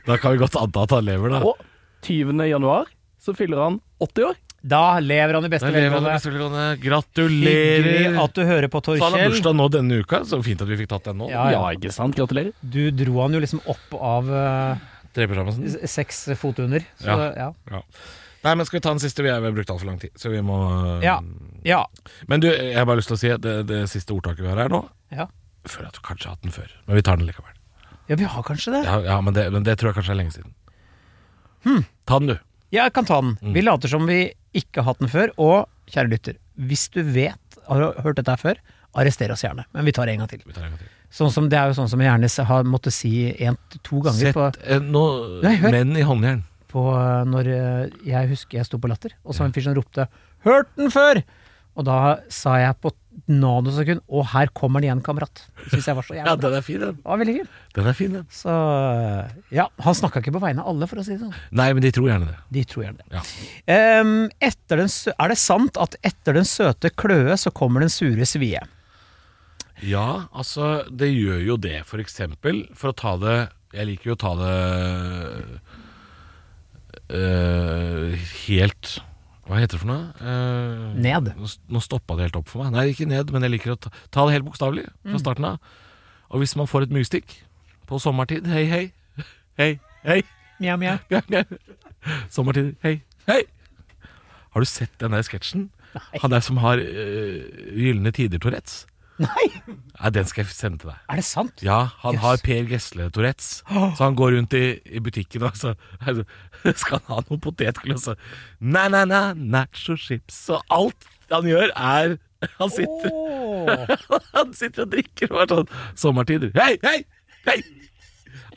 da kan vi godt anta at han lever, da. Og 20. januar så fyller han 80 år. Da lever han i beste Der lever han i velgående. beste velgående. Hyggelig eh, Gratulerer! at du hører på, Så han har Torkjell. bursdag nå denne uka, så fint at vi fikk tatt den nå. Ja, ja. ikke sant? Gratulerer. Du dro han jo liksom opp av eh, Trepysjamasen. s- seks fot under. Så, Ja. ja. Ja. Nei, men skal vi ta den siste? Vi har brukt altfor lang tid, så vi må eh, Ja. ja. Men du, jeg har bare lyst til å si at det, det siste ordtaket vi har her nå ja. Føler jeg at du kanskje har hatt den før, men vi tar den likevel. Ja, vi har kanskje det. Ja, ja men, det, men det tror jeg kanskje er lenge siden. Hmm. Ta den, du. Ja, jeg kan ta den. Mm. Vi later som vi ikke har hatt den før. Og kjære lytter, hvis du vet, har du hørt dette her før, arrester oss gjerne. Men vi tar det en gang til. Vi tar den en gang til. Sånn som, det er jo sånn som jeg gjerne har måttet si en til to ganger på, Sett eh, nå Nei, hør. menn i håndjern. på eh, når eh, jeg husker jeg sto på Latter, og så var det en fyr som ropte 'Hørt den før!' Og da sa jeg på nanosekund 'Å, her kommer den igjen, kamerat'. Det Syns jeg var så jævlig bra. den er fin, den. Det var veldig fint. Den er fin, den. Så eh, ja, han snakka ikke på vegne av alle, for å si det sånn. Nei, men de tror gjerne det. De tror gjerne det. Ja. Ehm, etter den, sø- er det sant at etter den søte kløe så kommer den sure svie? Ja, altså, det gjør jo det, for eksempel. For å ta det Jeg liker jo å ta det eh, helt Hva heter det for noe? Eh, Ned. Nå, nå stoppa det helt opp for meg. Nei, ikke ned, men jeg liker å ta, ta det helt bokstavelig fra starten av. Og hvis man får et myggstikk på sommertid Hei, hei. Hei, hei. Mjau, mjau. Bjørn, Bjørn. Sommertid. Hei. Hei! Har du sett den der sketsjen? Han der som har øh, Gylne tider-Tourettes? Nei! Nei, den skal jeg sende til deg. Er det sant? Ja, han Yes. har Per Gessle-Tourettes. Så han går rundt i, i butikken og så altså, skal han ha noen potetgull, og så Nei, nei, nei, nacho chips. Og alt han gjør, er Han sitter, Åh. han sitter og drikker og er sånn Sommertider. Hei, hei, hei!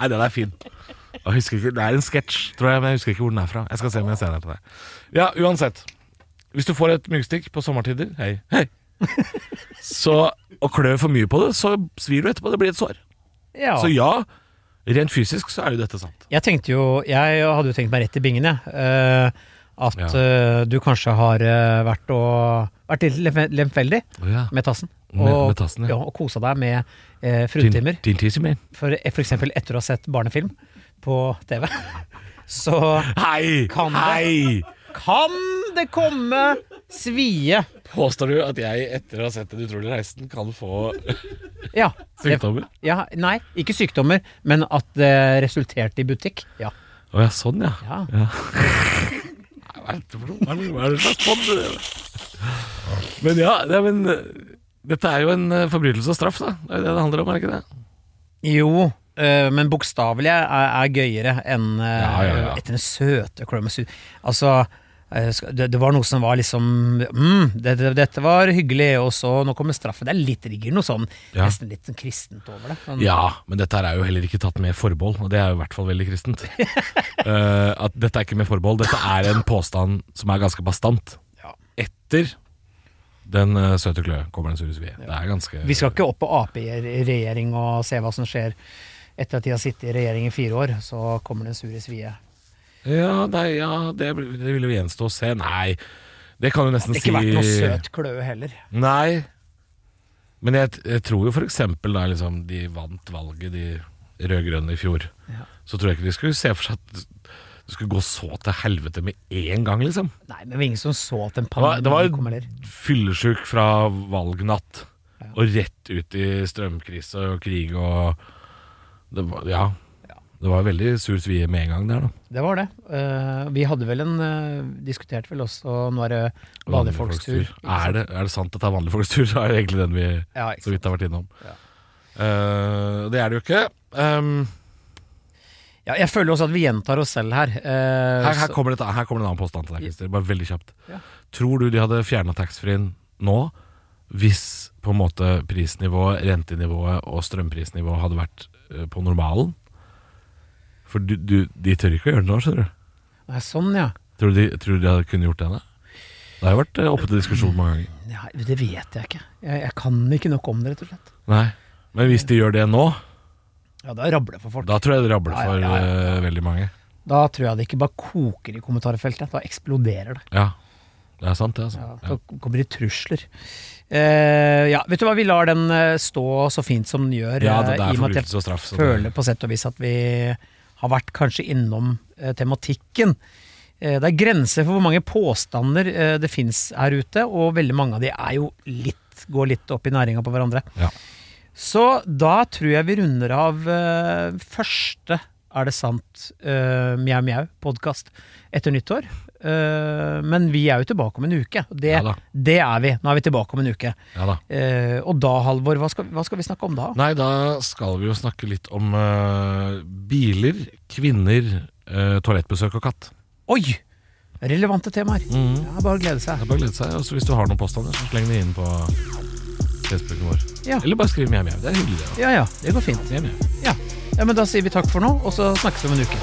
Nei, den er fin. Jeg husker ikke, Det er en sketsj, tror jeg, men jeg husker ikke hvor den er fra. Jeg skal se om jeg ser den her til deg. Ja, uansett. Hvis du får et myggstikk på sommertider, hei, hei. Så, og klør for mye på det, så svir du etterpå. Det blir et sår. Ja. Så ja, rent fysisk så er jo dette sant. Jeg tenkte jo Jeg hadde jo tenkt meg rett i bingen, jeg. Eh, at Ja. eh, du kanskje har eh, vært og Vært litt lemf- lemfeldig med tassen. Med- med tassen, ja. ja. og kosa deg med uh, Din- fruntimer. din tissimer. For, eh, for eksempel etter å ha sett barnefilm på TV. Så Hei! Kan det? Hei! kan det komme svie. Påstår du at jeg etter å ha sett Den utrolige reisen kan få Ja. sykdommer? Ja, nei, ikke sykdommer, men at det resulterte i butikk. Ja. Å ja, sånn ja. ja. Nei, Hva er det for noe? Hva er det- hva er det slags podd det der? Men ja, nei, men eh, dette er jo en eh, forbrytelse og straff, da. Det er jo det det handler om, er det ikke det? Jo, øh, men bokstavelig er, er gøyere enn øh, Ja, ja, ja. etter den søte Chromosy. Altså øh, skal- det, det var noe som var liksom mm, det, det, Dette var hyggelig, og så nå kommer straffen. Det er litt rigger noe sånn, Ja. nesten litt sånn kristent over det. Sånn, Mm. Ja, men dette her er jo heller ikke tatt med forbehold, og det er jo i hvert fall veldig kristent. Eh, at dette er ikke med forbehold. Dette er en påstand som er ganske bastant. Ja. Etter den eh, søte klø kommer den sure svie. Det er ganske Vi skal ikke opp på Ap i regjering og se hva som skjer. Etter at de har sittet i regjering i fire år, så kommer den sure svie. Ja, nei, ja det, blir- det vil jo gjenstå å se. Nei, det kan du nesten Det har si ikke vært noe søt kløe heller. Nei. Men jeg, jeg tror jo for eksempel da liksom, de vant valget, de rød-grønne i fjor. Så tror jeg ikke de skulle se for seg at det skulle gå så til helvete med én gang, liksom. Nei, men det var ingen som så at en Det var, det var pandemi kom heller. fyllesjuk fra valgnatt og rett ut i strømkrise og krig og det var, Ja. Det var veldig sur svie med en gang der, da. Det var det. Eh, vi hadde vel en eh, Diskuterte vel også Nå er det vanlige folks tur. ikke Er, sant? det, er det sant at det er vanlige folks tur? Så er det egentlig den vi Ja, ikke så vidt har vært innom. Ja. Eh, det er det jo ikke. Um, Ja, jeg føler også at vi gjentar oss selv her. Eh, her, her, så- kommer det, et- her kommer det en annen påstand til deg, Christer. Bare veldig kjapt. Ja. Tror du de hadde fjerna taxfree-en nå hvis på en måte prisnivået, rentenivået og strømprisnivået hadde vært eh, på normalen? For du, du, de tør ikke å gjøre det nå, skjønner du. Nei, sånn, ja. Tror du de, tror du de hadde kunnet gjort det? da? Det har jo vært eh, oppe til diskusjon mange ganger. Nei, det vet jeg ikke. Jeg, jeg kan ikke nok om det, rett og slett. Nei. Men hvis de gjør det nå, Ja, Da rabler det for folk. Da, da tror jeg det rabler Ja, ja, for ja, ja, eh, veldig mange. tror jeg det ikke bare koker i kommentarfeltet. Da eksploderer det. Ja. Det er sant, det, altså. Ja, Ja. da kommer det trusler. Eh, ja, vet du hva, vi lar den eh, stå så fint som den gjør. Ja, eh, i og det, det er med at jeg forbrytelse og straff. så det- føler på sett og vis at vi har vært kanskje innom eh, tematikken. Eh, det er grenser for hvor mange påstander eh, det fins her ute, og veldig mange av de er jo litt, går litt opp i næringa på hverandre. Ja. Så da tror jeg vi runder av eh, første Er det sant? eh, Mjau Mjau-podkast etter nyttår. Eh, men vi er jo tilbake om en uke. Det, Ja da. det er vi. Nå er vi tilbake om en uke. Ja da. Eh, og da, Halvor, hva skal, hva skal vi snakke om da? Nei, da skal vi jo snakke litt om eh, biler, kvinner, eh, toalettbesøk og katt. Oi! Relevante temaer. Mm. Ja, bare å glede seg. Det er bare å glede seg. Og så hvis du har noen påstander, så sleng det inn på Facebooken vår. Ja. Eller bare skriv mjau-mjau. Det er hyggelig, det. da. Ja ja, det går fint. Mjau, mjau. Ja. ja, Men da sier vi takk for nå, og så snakkes vi om en uke.